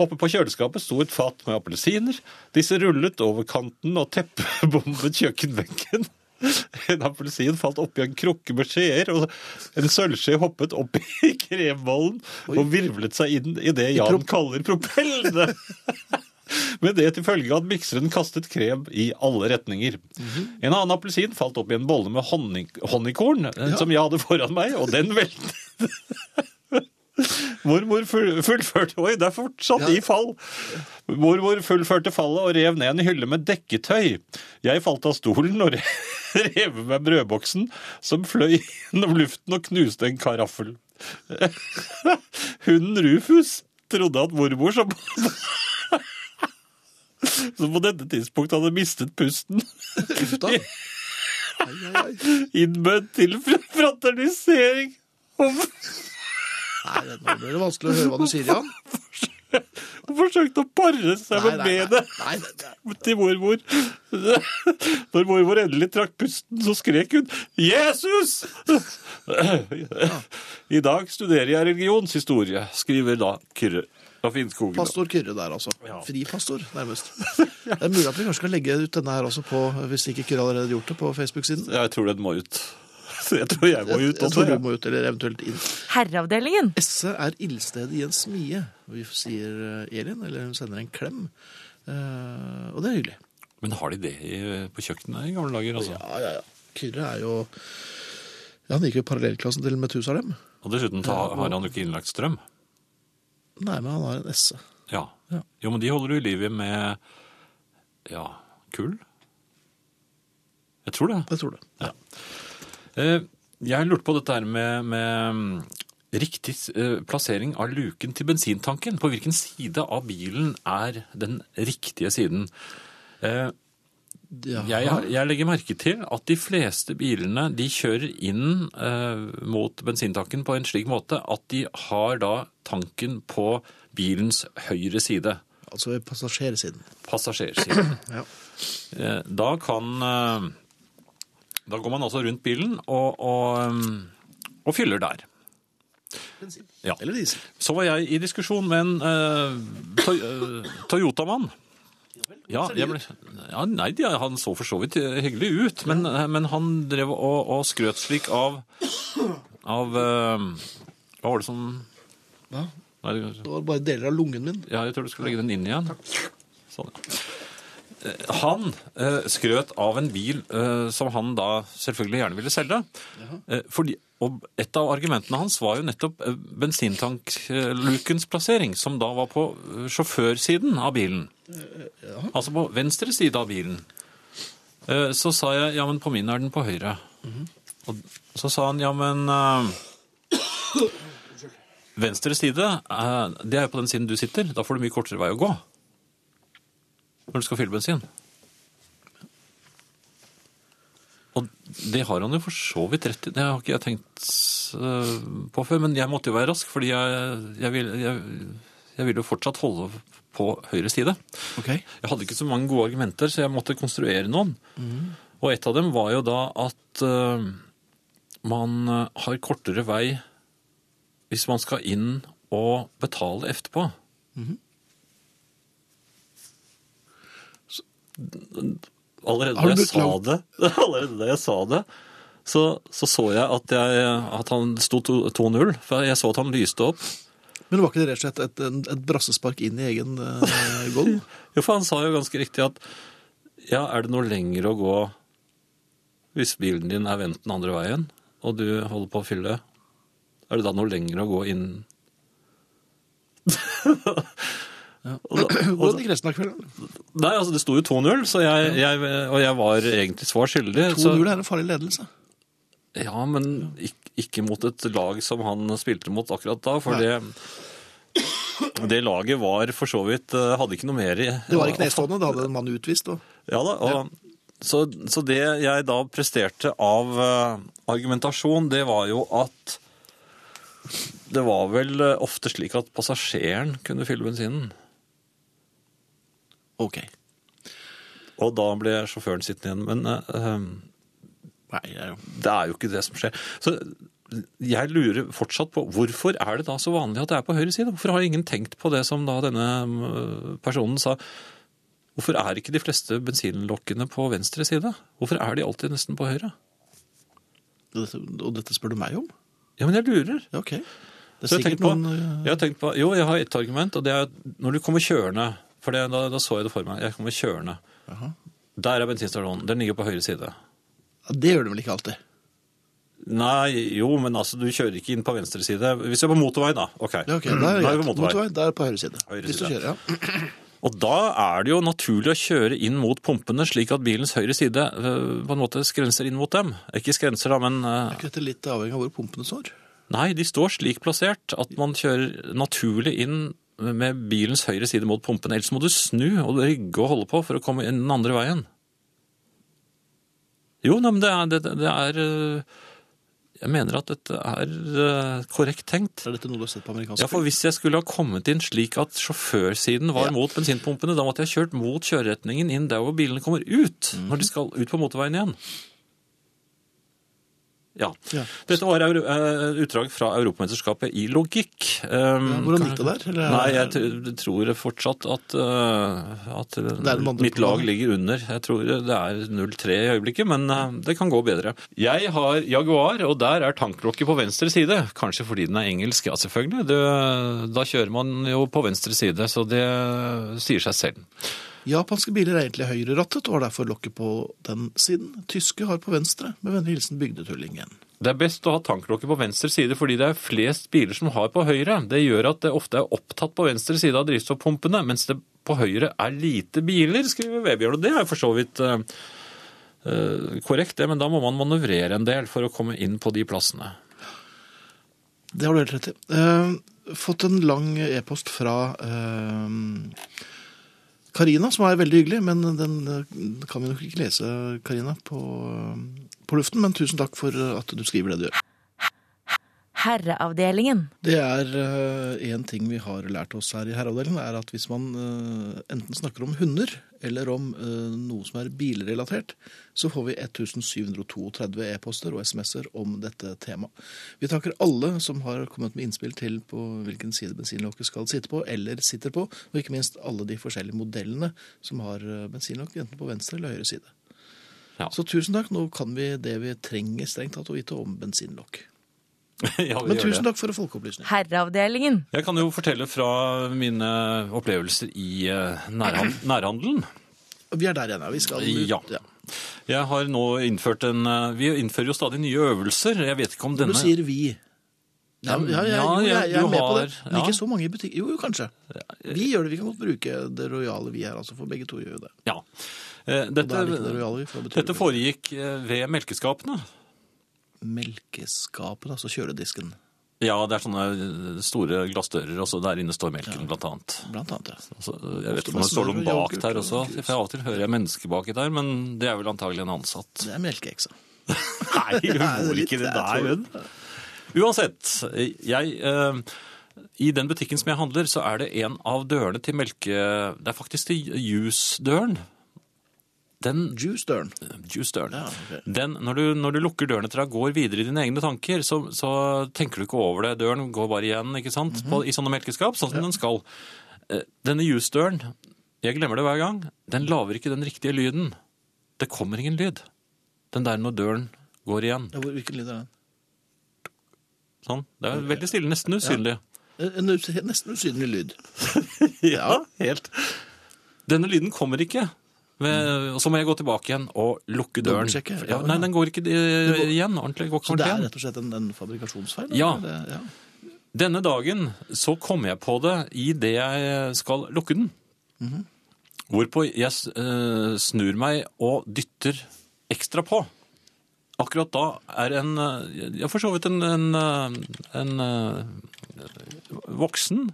Speaker 2: Oppe på kjøleskapet sto et fat med appelsiner. Disse rullet over kanten og teppebombet kjøkkenbenken. En appelsin falt oppi en krukke med skjeer, og en sølvskje hoppet opp i krembollen og virvlet seg inn i det Jan kaller propellene. Med det til følge at mikseren kastet krem i alle retninger. En annen appelsin falt opp i en bolle med honning, honningkorn, eh, som jeg hadde foran meg, og den veltet. Mormor full- fullførte Oi, det er fortsatt i fall! Mormor fullførte fallet og rev ned en hylle med dekketøy. Jeg falt av stolen og re- rev med brødboksen, som fløy gjennom luften og knuste en karaffel. Hunden Rufus trodde at mormor som som på dette tidspunkt hadde mistet pusten,
Speaker 1: Uff da. Ai, ai, ai.
Speaker 2: innbød til fraternisering. Og
Speaker 1: Nei, det- nå blir det vanskelig å høre hva du sier, Jan.
Speaker 2: og forsøkte å pare
Speaker 1: Nei,
Speaker 2: seg med
Speaker 1: nei, nei.
Speaker 2: benet
Speaker 1: nei, nei, nei.
Speaker 2: til mormor. Når mormor endelig trakk pusten, så skrek hun 'Jesus!' I dag studerer jeg religionshistorie, skriver da Kyrre fra Finnskogen.
Speaker 1: Pastor Kyrre der, altså. Fripastor, nærmest. Det er mulig at vi kanskje skal legge ut denne her også på, hvis ikke Kyrre allerede har gjort det, på Facebook-siden.
Speaker 2: Jeg tror den må ut. Jeg tror jeg må
Speaker 1: Jeg,
Speaker 2: ut
Speaker 1: jeg
Speaker 2: også.
Speaker 1: tror du
Speaker 2: jeg.
Speaker 1: må ut, eller eventuelt inn.
Speaker 3: Herreavdelingen.
Speaker 1: Esse er ildstedet i en smie, vi sier eh, Elin, eller hun sender en klem. Eh, og det er hyggelig.
Speaker 2: Men har de det i- på kjøkkenet i gamle dager? Altså?
Speaker 1: Ja, ja, ja. Kyrre er jo ja, Han gikk jo i parallellklassen til Methusalem.
Speaker 2: Og dessuten ta, har han jo ikke innlagt strøm.
Speaker 1: Nei, men han har en esse.
Speaker 2: Ja.
Speaker 1: Ja.
Speaker 2: Jo, men de holder du i livet med ja, kull? Jeg tror det.
Speaker 1: Jeg tror det.
Speaker 2: Eh, Jeg lurte på dette her med, med mm, riktig eh, plassering av luken til bensintanken. På hvilken side av bilen er den riktige siden? Eh,
Speaker 1: Ja.
Speaker 2: Jeg, jeg legger merke til at de fleste bilene de kjører inn eh, mot bensintanken på en slik måte at de har da tanken på bilens høyre side.
Speaker 1: Altså ved passasjersiden.
Speaker 2: passasjersiden.
Speaker 1: Ja.
Speaker 2: Eh, Da kan eh, Da går man altså rundt bilen og, og, eh, og fyller der. Ja.
Speaker 1: Eller diesel.
Speaker 2: Så var jeg i diskusjon med en eh, Toy- eh, Toyota-mann. Ja, jeg ble, ja, nei, de- han så for så vidt eh, hyggelig ut, men, eh, men han drev og, og skrøt slik av Av eh, Hva var det som
Speaker 1: Hva?
Speaker 2: Nei, det-
Speaker 1: Det var bare deler av lungen min.
Speaker 2: Ja, jeg tror du skal legge den inn igjen. Sånn, ja. Eh, Han eh, skrøt av en bil eh, som han da selvfølgelig gjerne ville selge. Eh, fordi, og et av argumentene hans var jo nettopp eh, bensintanklukens plassering, som da var på eh, sjåførsiden av bilen. Altså på venstre side av bilen. Eh, så sa jeg ja, men på min er den på høyre. Og så sa han ja, men eh, Venstre side, eh, det er jo på den siden du sitter. Da får du mye kortere vei å gå. Når du skal fylle bensin. Og det har han jo for så vidt rett i. Det har ikke jeg tenkt eh, på før, men jeg måtte jo være rask, fordi jeg, jeg, vil, jeg, jeg ville jo fortsatt holde på høyre side.
Speaker 1: Ok.
Speaker 2: Jeg hadde ikke så mange gode argumenter, så jeg måtte konstruere noen.
Speaker 1: Mhm.
Speaker 2: Og et av dem var jo da at eh, man eh, har kortere vei hvis man skal inn og betale etterpå.
Speaker 1: Mhm.
Speaker 2: Allerede
Speaker 1: Har
Speaker 2: da
Speaker 1: du
Speaker 2: jeg
Speaker 1: brukt
Speaker 2: sa
Speaker 1: lang-
Speaker 2: det, allerede da jeg sa det, så så, så jeg, at jeg at han sto to- 2-0, for jeg så at han lyste opp.
Speaker 1: Men var ikke det rett og slett et, et, et brassespark inn i egen eh, goal?
Speaker 2: Jo, for han sa jo ganske riktig at ja, er det noe lenger å gå hvis bilen din er vendt den andre veien, og du holder på å fylle, er det da noe lenger å gå inn? Og da- og
Speaker 1: Hvordan
Speaker 2: da-
Speaker 1: gikk resten av kvelden?
Speaker 2: Nei, altså det sto jo 2-0, så jeg, jeg, og jeg var egentlig svar skyldig.
Speaker 1: 2-0
Speaker 2: så-
Speaker 1: er en farlig ledelse.
Speaker 2: Ja, men ikke, ikke mot et lag som han spilte mot akkurat da, for det, det laget var for så vidt eh, Hadde ikke noe mer i
Speaker 1: Det var i knestående, da hadde en mann utvist. Og...
Speaker 2: Ja da, og Så, så det jeg da presterte av eh, argumentasjon, det var jo at det var vel eh, ofte slik at passasjeren kunne fylle bensinen.
Speaker 1: Ok.
Speaker 2: Og da ble sjåføren sittende igjen. Men eh, eh,
Speaker 1: Nei, det er jo-
Speaker 2: det er jo ikke det som skjer. Så jeg lurer fortsatt på hvorfor er det da så vanlig at det er på høyre side? Hvorfor har ingen tenkt på det som da denne eh, personen sa? Hvorfor er ikke de fleste bensinlokkene på venstre side? Hvorfor er de alltid nesten på høyre?
Speaker 1: dette, og dette spør du meg om?
Speaker 2: Ja, men jeg lurer.
Speaker 1: Ja, ok. Det er
Speaker 2: Så jeg
Speaker 1: sikkert
Speaker 2: tenkte på,
Speaker 1: noen eh,
Speaker 2: jeg har tenkt på Jo, jeg har ett argument, og det er at når du kommer kjørende For det, da, da så jeg det for meg. Jeg kommer kjørende.
Speaker 1: Jaha.
Speaker 2: Der er bensinstasjonen. Den ligger på høyre side.
Speaker 1: ja, Det gjør det vel ikke alltid?
Speaker 2: Nei, jo, men altså, du kjører ikke inn på venstre side. Hvis du er på motorvei, da. OK.
Speaker 1: Ja, ok.
Speaker 2: Mm,
Speaker 1: Da
Speaker 2: Da
Speaker 1: er det
Speaker 2: vi
Speaker 1: greit.
Speaker 2: på motorvei.
Speaker 1: Motorvei, da er det på høyre side.
Speaker 2: Høyre
Speaker 1: Hvis du
Speaker 2: side.
Speaker 1: kjører, ja.
Speaker 2: Og da er det jo naturlig å kjøre inn mot pumpene, slik at bilens høyre side øh, på en måte skrenser inn mot dem. Ikke skrenser, da, men øh,
Speaker 1: Er ikke dette litt avhengig av hvor pumpene står?
Speaker 2: Nei, de står slik plassert at man kjører naturlig inn med bilens høyre side mot pumpen. Ellers må du snu og rygge og holde på for å komme inn den andre veien. Jo, nei, men det er, det, det er øh, Jeg mener at dette er øh, korrekt tenkt.
Speaker 1: Er dette noe du har sett på amerikansk
Speaker 2: Ja, for Hvis jeg skulle ha kommet inn slik at sjåførsiden var
Speaker 1: Ja.
Speaker 2: mot bensinpumpene, da måtte jeg kjørt mot kjøreretningen inn der hvor bilene kommer ut,
Speaker 1: Mhm.
Speaker 2: når de skal ut på motorveien igjen. Ja.
Speaker 1: Ja.
Speaker 2: Dette var euro- eh, utdrag fra Europamesterskapet i logikk. Um,
Speaker 1: Ja, hvordan gikk det der? Eller-
Speaker 2: Nei, jeg tr- tror fortsatt at, eh, at
Speaker 1: er de andre
Speaker 2: mitt lag
Speaker 1: programmene.
Speaker 2: ligger under. Jeg tror det er 0-3 i øyeblikket, men eh, det kan gå bedre. Jeg har Jaguar, og der er tanklokket på venstre side. Kanskje fordi den er engelsk, ja selvfølgelig. Det, da kjører man jo på venstre side, så det sier seg selv.
Speaker 1: Japanske biler er egentlig høyrerattet og har derfor lokket på den siden. Tyske har på venstre, med vennlig hilsen bygdetullingen.
Speaker 2: Det er best å ha tanklokket på venstre side fordi det er flest biler som har på høyre. Det gjør at det ofte er opptatt på venstre side av drivstoffpumpene, mens det på høyre er lite biler, skriver Vebjørn. Og det er for så vidt eh, eh, korrekt, det, men da må man manøvrere en del for å komme inn på de plassene.
Speaker 1: Det har du helt rett i. Eh, fått en lang e-post fra eh, Karina, som er veldig hyggelig, men den eh, kan vi nok ikke lese, Karina, på, eh, på luften. Men tusen takk for at du skriver det du gjør.
Speaker 3: Herreavdelingen.
Speaker 1: Det er én ting vi har lært oss her i herreavdelingen, er at hvis man eh, enten snakker om hunder eller om eh, noe som er bilrelatert, så får vi 1732 e-poster og SMS-er om dette temaet. Vi takker alle som har kommet med innspill til på hvilken side bensinlokket skal sitte på, eller sitter på, og ikke minst alle de forskjellige modellene som har eh, bensinlokk, enten på venstre eller høyre side.
Speaker 2: Ja.
Speaker 1: Så tusen takk. Nå kan vi det vi trenger strengt tatt å vite om bensinlokk.
Speaker 2: ja,
Speaker 1: Men tusen takk for folkeopplysning.
Speaker 3: Herreavdelingen.
Speaker 2: Jeg kan jo fortelle fra mine opplevelser i eh, nærhan- nærhandelen.
Speaker 1: Vi er der igjen, ja. Vi skal ut.
Speaker 2: Ja. Jeg har nå innført en eh, Vi innfører jo stadig nye øvelser. Jeg vet ikke om
Speaker 1: Du
Speaker 2: denne
Speaker 1: sier vi. Ja, ja, ja, jo, jeg, jeg
Speaker 2: du
Speaker 1: er med på det.
Speaker 2: har-
Speaker 1: Men
Speaker 2: ja.
Speaker 1: ikke så mange i butikk. Jo, jo, kanskje. Vi gjør det. Vi kan godt bruke det rojale vi her, altså, for begge to gjør jo det.
Speaker 2: Ja. Eh,
Speaker 1: Og da er det ikke det
Speaker 2: Dette,
Speaker 1: rojale vi får betyr
Speaker 2: dette foregikk eh, ved melkeskapene.
Speaker 1: Melkeskapen, altså kjøledisken,
Speaker 2: Ja, det er sånne eh, store glassdører, og så der inne står melken, blant annet.
Speaker 1: blant annet. Ja.
Speaker 2: Altså, jeg vet
Speaker 1: Ofte
Speaker 2: ikke om det står
Speaker 1: med
Speaker 2: noen
Speaker 1: smør og
Speaker 2: bak
Speaker 1: yoghurt
Speaker 2: der
Speaker 1: og
Speaker 2: også,
Speaker 1: grus.
Speaker 2: for av og til hører jeg mennesker baki der, men det er vel antagelig en ansatt.
Speaker 1: Det er melkeeksa.
Speaker 2: Nei, hun
Speaker 1: det er
Speaker 2: bor
Speaker 1: litt-
Speaker 2: ikke det
Speaker 1: jeg tror
Speaker 2: der, hun. Uansett, jeg eh, I den butikken som jeg handler, så er det en av dørene til melke... Det er faktisk til juice-døren. Den
Speaker 1: Juice Dern.
Speaker 2: juice-døren.
Speaker 1: Ja, ok.
Speaker 2: Den, når, du, når du lukker dørene til deg og går videre i dine egne tanker, så, så tenker du ikke over det. Døren går bare igjen ikke sant?
Speaker 1: Mhm.
Speaker 2: På, i sånne melkeskap, sånn som den skal. Eh, Denne juice-døren, jeg glemmer det hver gang, den lager ikke den riktige lyden. Det kommer ingen lyd. Den der når døren går igjen.
Speaker 1: Ja, hvor- hvilken lyd er den?
Speaker 2: Sånn. Det er veldig stille, nesten usynlig.
Speaker 1: Eh, En- En us- nesten usynlig lyd.
Speaker 2: Ja, helt. Denne lyden kommer ikke. Ved- Og så må jeg gå tilbake igjen og lukke døren.
Speaker 1: Dobbeltsjekke, ja,
Speaker 2: Ja, nei,
Speaker 1: ja.
Speaker 2: den går ikke eh, igjen ordentlig. Går ikke
Speaker 1: Så det
Speaker 2: ordentlig
Speaker 1: er
Speaker 2: igjen.
Speaker 1: rett og slett en, en fabrikasjonsfeil?
Speaker 2: Ja.
Speaker 1: eller? Det- ja.
Speaker 2: Denne dagen så kom jeg på det i det jeg skal lukke den. Hvorpå jeg eh, snur meg og dytter ekstra på. Akkurat da er en eh, Ja, for så vidt en, en, eh, en eh, voksen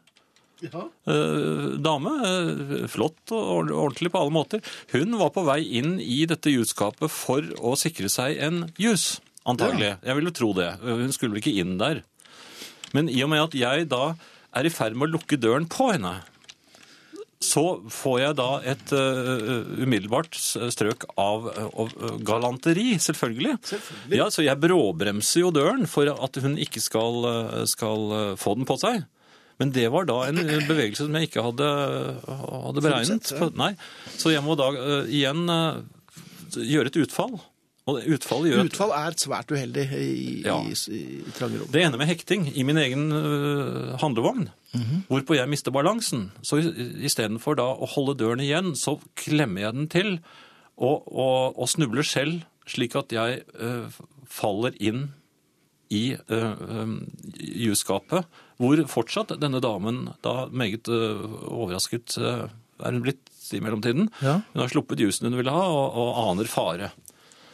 Speaker 1: Ja.
Speaker 2: eh, dame, eh, flott og ord- ordentlig på alle måter, hun var på vei inn i dette jusskapet for å sikre seg en jus, antagelig. Jeg ville tro det. Hun skulle vel ikke inn der. Men i og med at jeg da er i ferd med å lukke døren på henne, så får jeg da et eh, umiddelbart strøk av eh, av galanteri, selvfølgelig.
Speaker 1: Selvfølgelig.
Speaker 2: Ja, så jeg bråbremser jo døren for at hun ikke skal, eh, skal eh, få den på seg. Men det var da en eh, bevegelse som jeg ikke hadde, eh, hadde beregnet.
Speaker 1: Forutsett, ja.
Speaker 2: Nei. Så jeg må da eh, igjen eh, gjøre et utfall. Og det utfallet gjør at
Speaker 1: Utfall er svært uheldig i,
Speaker 2: Ja.
Speaker 1: i, i, i trange rom.
Speaker 2: det ender med hekting i min egen øh, handlevogn, hvorpå jeg mister balansen. Så i- istedenfor da å holde døren igjen, så klemmer jeg den til og, og, og snubler selv, slik at jeg øh, faller inn i øh, øh, jusskapet, hvor fortsatt denne damen da meget øh, overrasket øh, er hun blitt i mellomtiden.
Speaker 1: Ja.
Speaker 2: Hun har sluppet jusen hun ville ha, og, og aner fare.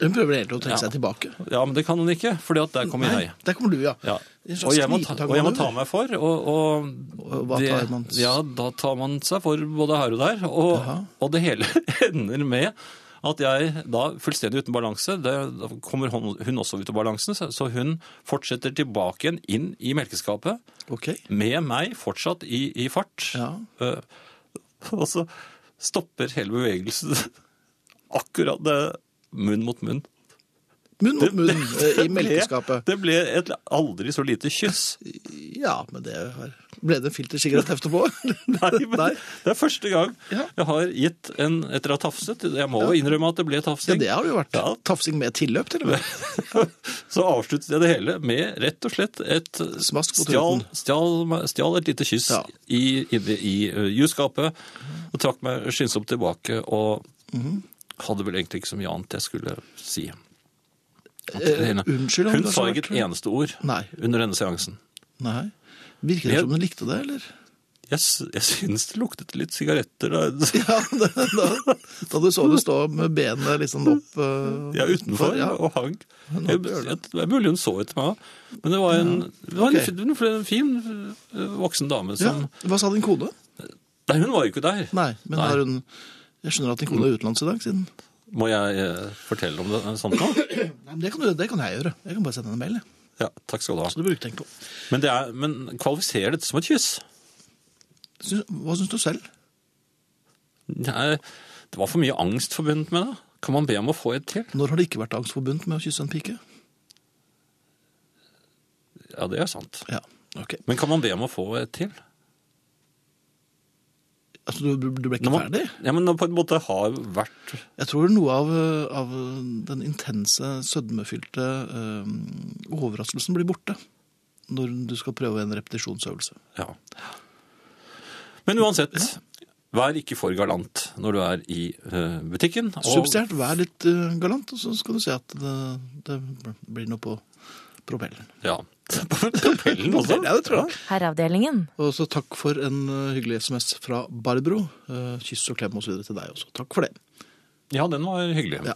Speaker 1: Hun prøver egentlig å trekke
Speaker 2: Ja.
Speaker 1: seg tilbake.
Speaker 2: Ja, men det kan hun ikke, for der kommer jeg.
Speaker 1: der kommer du, ja.
Speaker 2: Ja.
Speaker 1: En slags
Speaker 2: Og jeg, må ta,
Speaker 1: knipetang-
Speaker 2: og jeg må ta meg for, og, og
Speaker 1: Og hva tar man s-
Speaker 2: Ja, da tar man seg for både her og der, og, og det hele ender med at jeg da fullstendig uten balanse, det, da kommer hun, hun også ut av balansen, så, så hun fortsetter tilbake igjen inn i melkeskapet,
Speaker 1: Ok.
Speaker 2: med meg fortsatt i, i fart,
Speaker 1: Ja.
Speaker 2: Eh, og så stopper hele bevegelsen akkurat det, munn mot munn.
Speaker 1: Munn mot munn eh, i
Speaker 2: Det ble-
Speaker 1: melkeskapet.
Speaker 2: Det ble et aldri så lite kyss.
Speaker 1: Ja, men det er- ble det en filtersigarett etterpå.
Speaker 2: Nei, men
Speaker 1: Nei.
Speaker 2: det er første gang
Speaker 1: Ja.
Speaker 2: jeg har gitt en etter å ha tafset. Jeg må jo innrømme at det ble
Speaker 1: Ja,
Speaker 2: tafsing.
Speaker 1: det har det jo vært.
Speaker 2: Ja.
Speaker 1: Tafsing med tilløp, til og med.
Speaker 2: Så avsluttet jeg det hele med rett og slett et
Speaker 1: Smask på
Speaker 2: stjal,
Speaker 1: tuten.
Speaker 2: stjal, stjal et lite kyss
Speaker 1: Ja.
Speaker 2: i, inne i uh, jusskapet og trakk meg skyndsomt tilbake og
Speaker 1: Mhm.
Speaker 2: hadde vel egentlig ikke så mye annet jeg skulle si. At det
Speaker 1: Eh,
Speaker 2: ene-
Speaker 1: unnskyld om
Speaker 2: Hun
Speaker 1: det
Speaker 2: sa
Speaker 1: har
Speaker 2: ikke et
Speaker 1: vært-
Speaker 2: eneste ord
Speaker 1: Nei.
Speaker 2: under denne seansen.
Speaker 1: Nei. Virker det
Speaker 2: Jeg-
Speaker 1: som hun likte det, eller?
Speaker 2: Jeg, s- jeg syns det luktet litt sigaretter da.
Speaker 1: Ja, da, da, da du så det stå med benet liksom opp eh,
Speaker 2: Ja, utenfor
Speaker 1: Ja.
Speaker 2: og hang.
Speaker 1: Hun
Speaker 2: Jeg,
Speaker 1: hadde
Speaker 2: jeg,
Speaker 1: ørene.
Speaker 2: det er mulig hun så etter meg, men det var en, det var en,
Speaker 1: ok.
Speaker 2: fin- en fin øh, voksen dame
Speaker 1: Ja.
Speaker 2: som
Speaker 1: Hva sa din kone?
Speaker 2: Nei, hun var jo ikke der.
Speaker 1: Nei, men
Speaker 2: Nei. Mm.
Speaker 1: har hun Jeg skjønner at din kone er utenlands i dag, siden
Speaker 2: Må jeg eh, fortelle om det eh, sånt nå?
Speaker 1: Nei, men det kan, du, det kan jeg gjøre. Jeg kan bare sende henne en mail, jeg.
Speaker 2: Ja, takk skal du ha.
Speaker 1: så du bruker tenke på.
Speaker 2: Men, det er, men kvalifiserer dette som et kyss?
Speaker 1: Syns- Hva syns du selv?
Speaker 2: Nei, det var for mye angst forbundet med det. Kan man be om å få et til?
Speaker 1: Når har det ikke vært angstforbundet med å kysse en pike?
Speaker 2: Ja, det er sant.
Speaker 1: Ja, ok.
Speaker 2: Men kan man be om å få et til?
Speaker 1: Altså, du, du ble ikke
Speaker 2: Når man,
Speaker 1: ferdig?
Speaker 2: ja, men når på en måte har vært
Speaker 1: Jeg tror noe av, eh, av den intense, sødmefylte eh, overraskelsen blir borte når du skal prøve en repetisjonsøvelse.
Speaker 2: Ja. Men uansett, vær ikke for galant når du er i eh, butikken. og-
Speaker 1: Subsidiært, vær litt eh, galant, og så skal du se at det, det blir noe på propellen.
Speaker 2: Ja. Propellen også.
Speaker 1: Ja, det tror jeg.
Speaker 3: Herreavdelingen.
Speaker 1: Og så takk for en eh, hyggelig SMS fra Barbro. Eh, Kyss og klem og så videre til deg også. Takk for det.
Speaker 2: Ja, den var hyggelig.
Speaker 1: Ja.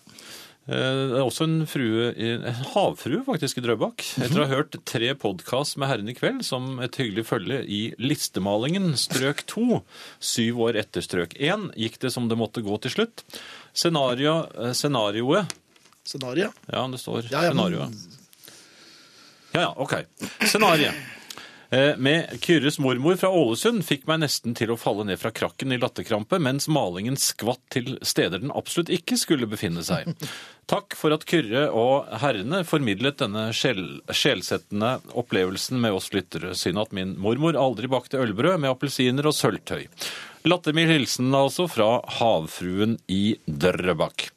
Speaker 2: Eh, Det er også en frue, en havfrue faktisk, i Drøbak. Etter å ha hørt tre podkast med Herren i kveld som et hyggelig følge i listemalingen strøk to, syv år etter strøk én, gikk det som det måtte gå til slutt. Scenario, eh, scenarioet
Speaker 1: Scenario.
Speaker 2: Ja, det står
Speaker 1: Ja, ja, men-
Speaker 2: scenarioet. Ja, ja, ok. Scenarie. Eh, Med Kyrres mormor fra Ålesund fikk meg nesten til å falle ned fra krakken i latterkrampe, mens malingen skvatt til steder den absolutt ikke skulle befinne seg. Takk for at Kyrre og herrene formidlet denne sjel sjelsettende opplevelsen med oss lyttere. Synd at min mormor aldri bakte ølbrød med appelsiner og sølvtøy. Lattermild hilsen altså fra havfruen i Drøbak.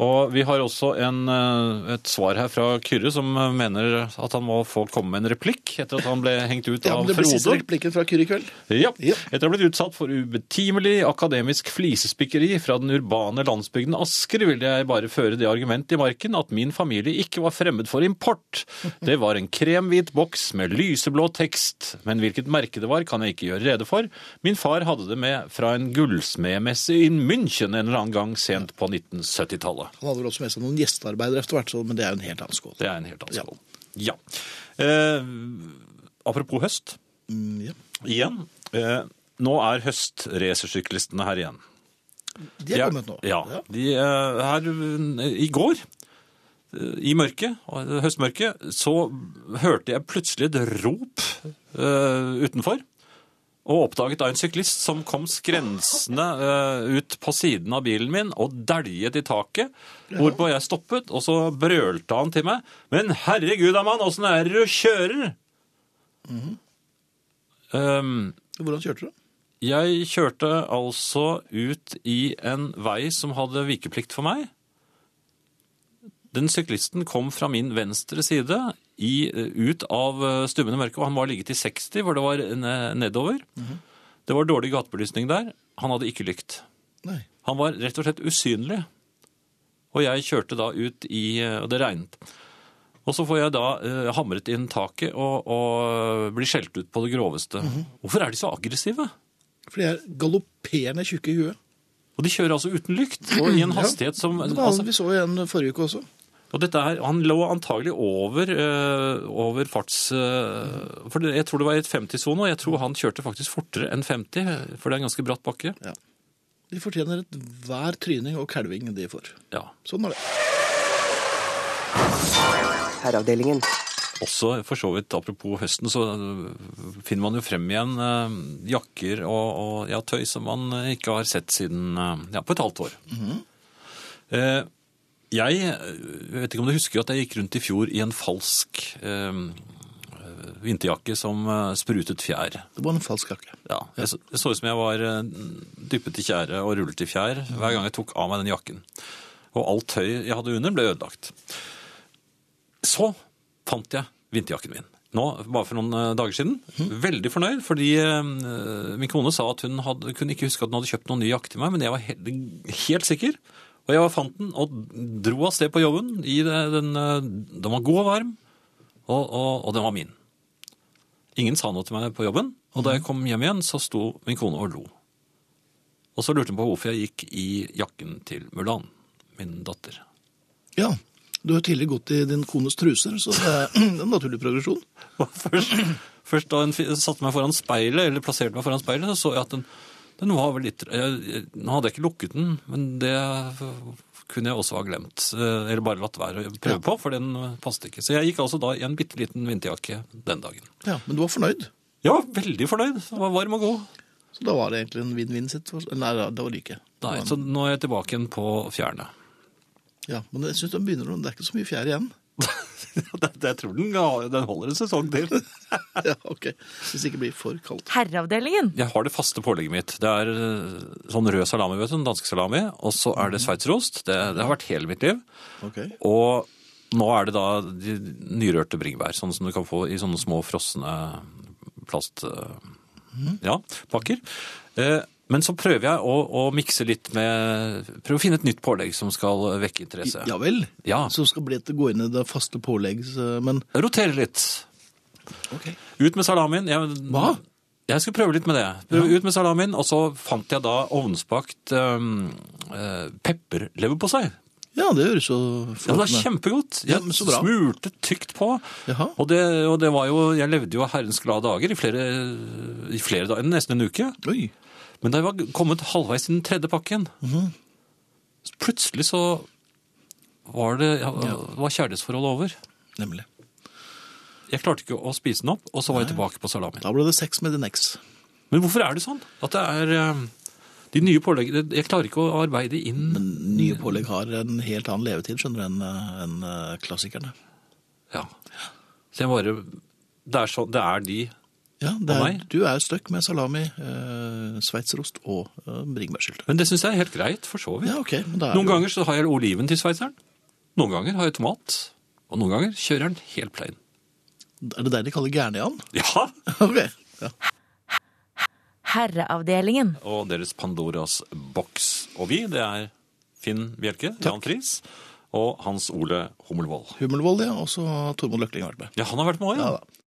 Speaker 2: Og vi har også en, eh, et svar her fra Kyrre, som eh, mener at han må få komme med en replikk etter at han ble hengt ut
Speaker 1: Ja,
Speaker 2: av
Speaker 1: men det blir siste
Speaker 2: Frode.
Speaker 1: replikken fra Kyrre i kveld.
Speaker 2: Ja.
Speaker 1: Ja.
Speaker 2: Etter å ha blitt utsatt for ubetimelig akademisk flisespikkeri fra den urbane landsbygden Asker, ville jeg bare føre det argument i marken at min familie ikke var fremmed for import. Det var en kremhvit boks med lyseblå tekst, men hvilket merke det var, kan jeg ikke gjøre rede for. Min far hadde det med fra en gullsmedmesse i München en eller annen gang sent på 1970-tallet.
Speaker 1: Han hadde vel også med seg noen gjestearbeidere etter hvert, så, men det er jo en helt annen skål.
Speaker 2: Det er en helt annen skål. Ja. Eh, apropos høst.
Speaker 1: Mm, ja.
Speaker 2: Igjen. Eh, nå er høstracersyklistene her igjen.
Speaker 1: De er kommet nå.
Speaker 2: Ja.
Speaker 1: Ja.
Speaker 2: De, eh, her eh, i går, eh, i mørket, eh, høstmørket, så hørte jeg plutselig et rop eh, utenfor. Og oppdaget da en syklist som kom skrensende eh, ut på siden av bilen min og dæljet i taket. Hvorpå jeg stoppet, og så brølte han til meg. Men herregud, Aman, åssen er det du kjører?
Speaker 1: Mhm.
Speaker 2: um,
Speaker 1: Hvordan kjørte du?
Speaker 2: jeg kjørte altså ut i en vei som hadde vikeplikt for meg. Den syklisten kom fra min venstre side i, ut av eh, stummende mørke, og han var ligget i 60, hvor det var ne- nedover. Det var dårlig gatebelysning der. Han hadde ikke lykt.
Speaker 1: Nei.
Speaker 2: Han var rett og slett usynlig. Og jeg kjørte da ut i eh, Og det regnet. Og så får jeg da eh, hamret inn taket og, og blir skjelt ut på det groveste. Hvorfor er de så aggressive?
Speaker 1: For de er galopperende tjukke i huet.
Speaker 2: Og de kjører altså uten lykt og i en
Speaker 1: Ja.
Speaker 2: hastighet som
Speaker 1: Det var han
Speaker 2: altså,
Speaker 1: vi så igjen forrige uke også.
Speaker 2: Og dette her, han lå antagelig over, eh, over farts... eh, for det, jeg tror det var i et 50-sone, og jeg tror han kjørte faktisk fortere enn 50, for det er en ganske bratt bakke.
Speaker 1: De fortjener et hver tryning og kalving de får.
Speaker 2: Ja.
Speaker 1: Sånn er det.
Speaker 4: Herreavdelingen.
Speaker 2: Også for så vidt, apropos høsten, så eh, finner man jo frem igjen eh, jakker og, og ja, tøy som man eh, ikke har sett siden eh, ja, på et halvt år. Eh, jeg eh, vet ikke om du husker at jeg gikk rundt i fjor i en falsk eh, eh, vinterjakke som eh, sprutet fjær.
Speaker 1: Det var en falsk jakke.
Speaker 2: Ja, jeg så, det så ut som jeg var eh, dyppet i tjære og rullet i fjær hver gang jeg tok av meg den jakken. Og alt tøy jeg hadde under ble ødelagt. Så fant jeg vinterjakken min. Nå, bare for noen eh, dager siden. Veldig fornøyd, fordi eh, min kone sa at hun hadde, kunne ikke huske at hun hadde kjøpt noen ny jakke til meg, men jeg var helt, helt sikker. Og jeg fant den og dro av sted på jobben. I det- den, eh, den var god og varm, og, og, og den var min. Ingen sa noe til meg på jobben, og da jeg kom hjem igjen, så sto min kone og lo. Og så lurte hun på hvorfor jeg gikk i jakken til Mulan, min datter.
Speaker 1: Ja. Du har tidligere gått i din kones truser, så det er en naturlig progresjon.
Speaker 2: Og først, først da hun fi- satte meg foran speilet, eller plasserte meg foran speilet, så så jeg at den, den var vel litt jeg, jeg, Nå hadde jeg ikke lukket den, men det kunne jeg også ha glemt. eh, Eller bare latt være å prøve på, for den eh, passet ikke. Så jeg gikk altså da i en bitte liten vinterjakke den dagen.
Speaker 1: Ja, Men du var fornøyd?
Speaker 2: Jeg var veldig fornøyd. Den var varm og god.
Speaker 1: Så da var det egentlig en vinn-vinn-situasjon? Nei, da- det var det ikke.
Speaker 2: Nei, så nå er jeg tilbake igjen på fjærene.
Speaker 1: Ja, Men jeg synes den begynner, å- det er ikke så mye fjær igjen.
Speaker 2: Jeg jeg tror den, ga- den holder en sesong til.
Speaker 1: Ja, ok. Hvis det ikke blir for kaldt.
Speaker 3: Herreavdelingen.
Speaker 2: Jeg har det faste pålegget mitt. Det er eh, sånn rød salami, vet du, en dansk salami. Og så er det sveitserost. Det, det har vært hele mitt liv.
Speaker 1: Ok.
Speaker 2: Og nå er det da de nyrørte bringebær, sånn som du kan få i sånne små frosne plast... eh, Ja, pakker. Eh, Men så prøver jeg å, å mikse litt med Prøve å finne et nytt pålegg som skal vekke interesse.
Speaker 1: Ja vel.
Speaker 2: Ja.
Speaker 1: Så skal bli etter gå inn i det faste påleggs... eh, Men
Speaker 2: Rotere litt.
Speaker 1: ok.
Speaker 2: Ut med salamien. Jeg,
Speaker 1: Hva?
Speaker 2: Jeg skulle prøve litt med det. Prøve Ut med salamien, og så fant jeg da ovnsbakt øhm, øh, pepperleverpostei.
Speaker 1: Ja, det høres så
Speaker 2: Ja, det var
Speaker 1: flott ut.
Speaker 2: kjempegodt. Jeg
Speaker 1: Ja, men så bra.
Speaker 2: smurte tykt på.
Speaker 1: Jaha.
Speaker 2: Og det, og det var jo Jeg levde jo herrens glade dager i flere, i flere dager, nesten en uke.
Speaker 1: Oi.
Speaker 2: Men da jeg var kommet halvveis i den tredje pakken,
Speaker 1: Mhm.
Speaker 2: så plutselig så var det ja, var kjærlighetsforholdet over.
Speaker 1: Nemlig.
Speaker 2: Jeg klarte ikke å spise den opp, og så var jeg tilbake på salamin.
Speaker 1: Da ble det sex med din eks.
Speaker 2: Men hvorfor er det sånn? At det er eh, de nye påleggene Jeg klarer ikke å arbeide inn
Speaker 1: Nye
Speaker 2: Mm.
Speaker 1: pålegg har en helt annen levetid, skjønner du, enn eh, enn, eh, klassikerne.
Speaker 2: Ja. Så jeg bare Det er, så, det er de
Speaker 1: Ja, det
Speaker 2: Og
Speaker 1: er,
Speaker 2: meg?
Speaker 1: du er jo støkk med salami, eh, sveitserost og eh, bringebærsylte.
Speaker 2: Men det syns jeg er helt greit, for så vidt.
Speaker 1: Ja, ok. Men da er det
Speaker 2: Noen
Speaker 1: jo-
Speaker 2: ganger så har jeg oliven til sveitseren. Noen ganger har jeg tomat. Og noen ganger kjører jeg den helt plain.
Speaker 1: Er det der de kaller gærne-Jan?
Speaker 2: Ja!
Speaker 1: ok. Ja.
Speaker 3: Herreavdelingen.
Speaker 2: Og deres Pandoras boks. Og vi, det er Finn Bjelke, Jan Friis og Hans Ole Hummelvold.
Speaker 1: Hummelvold, ja. Også Tormod Løkling har vært med.
Speaker 2: Ja, han har vært med òg, ja.
Speaker 1: Ja da.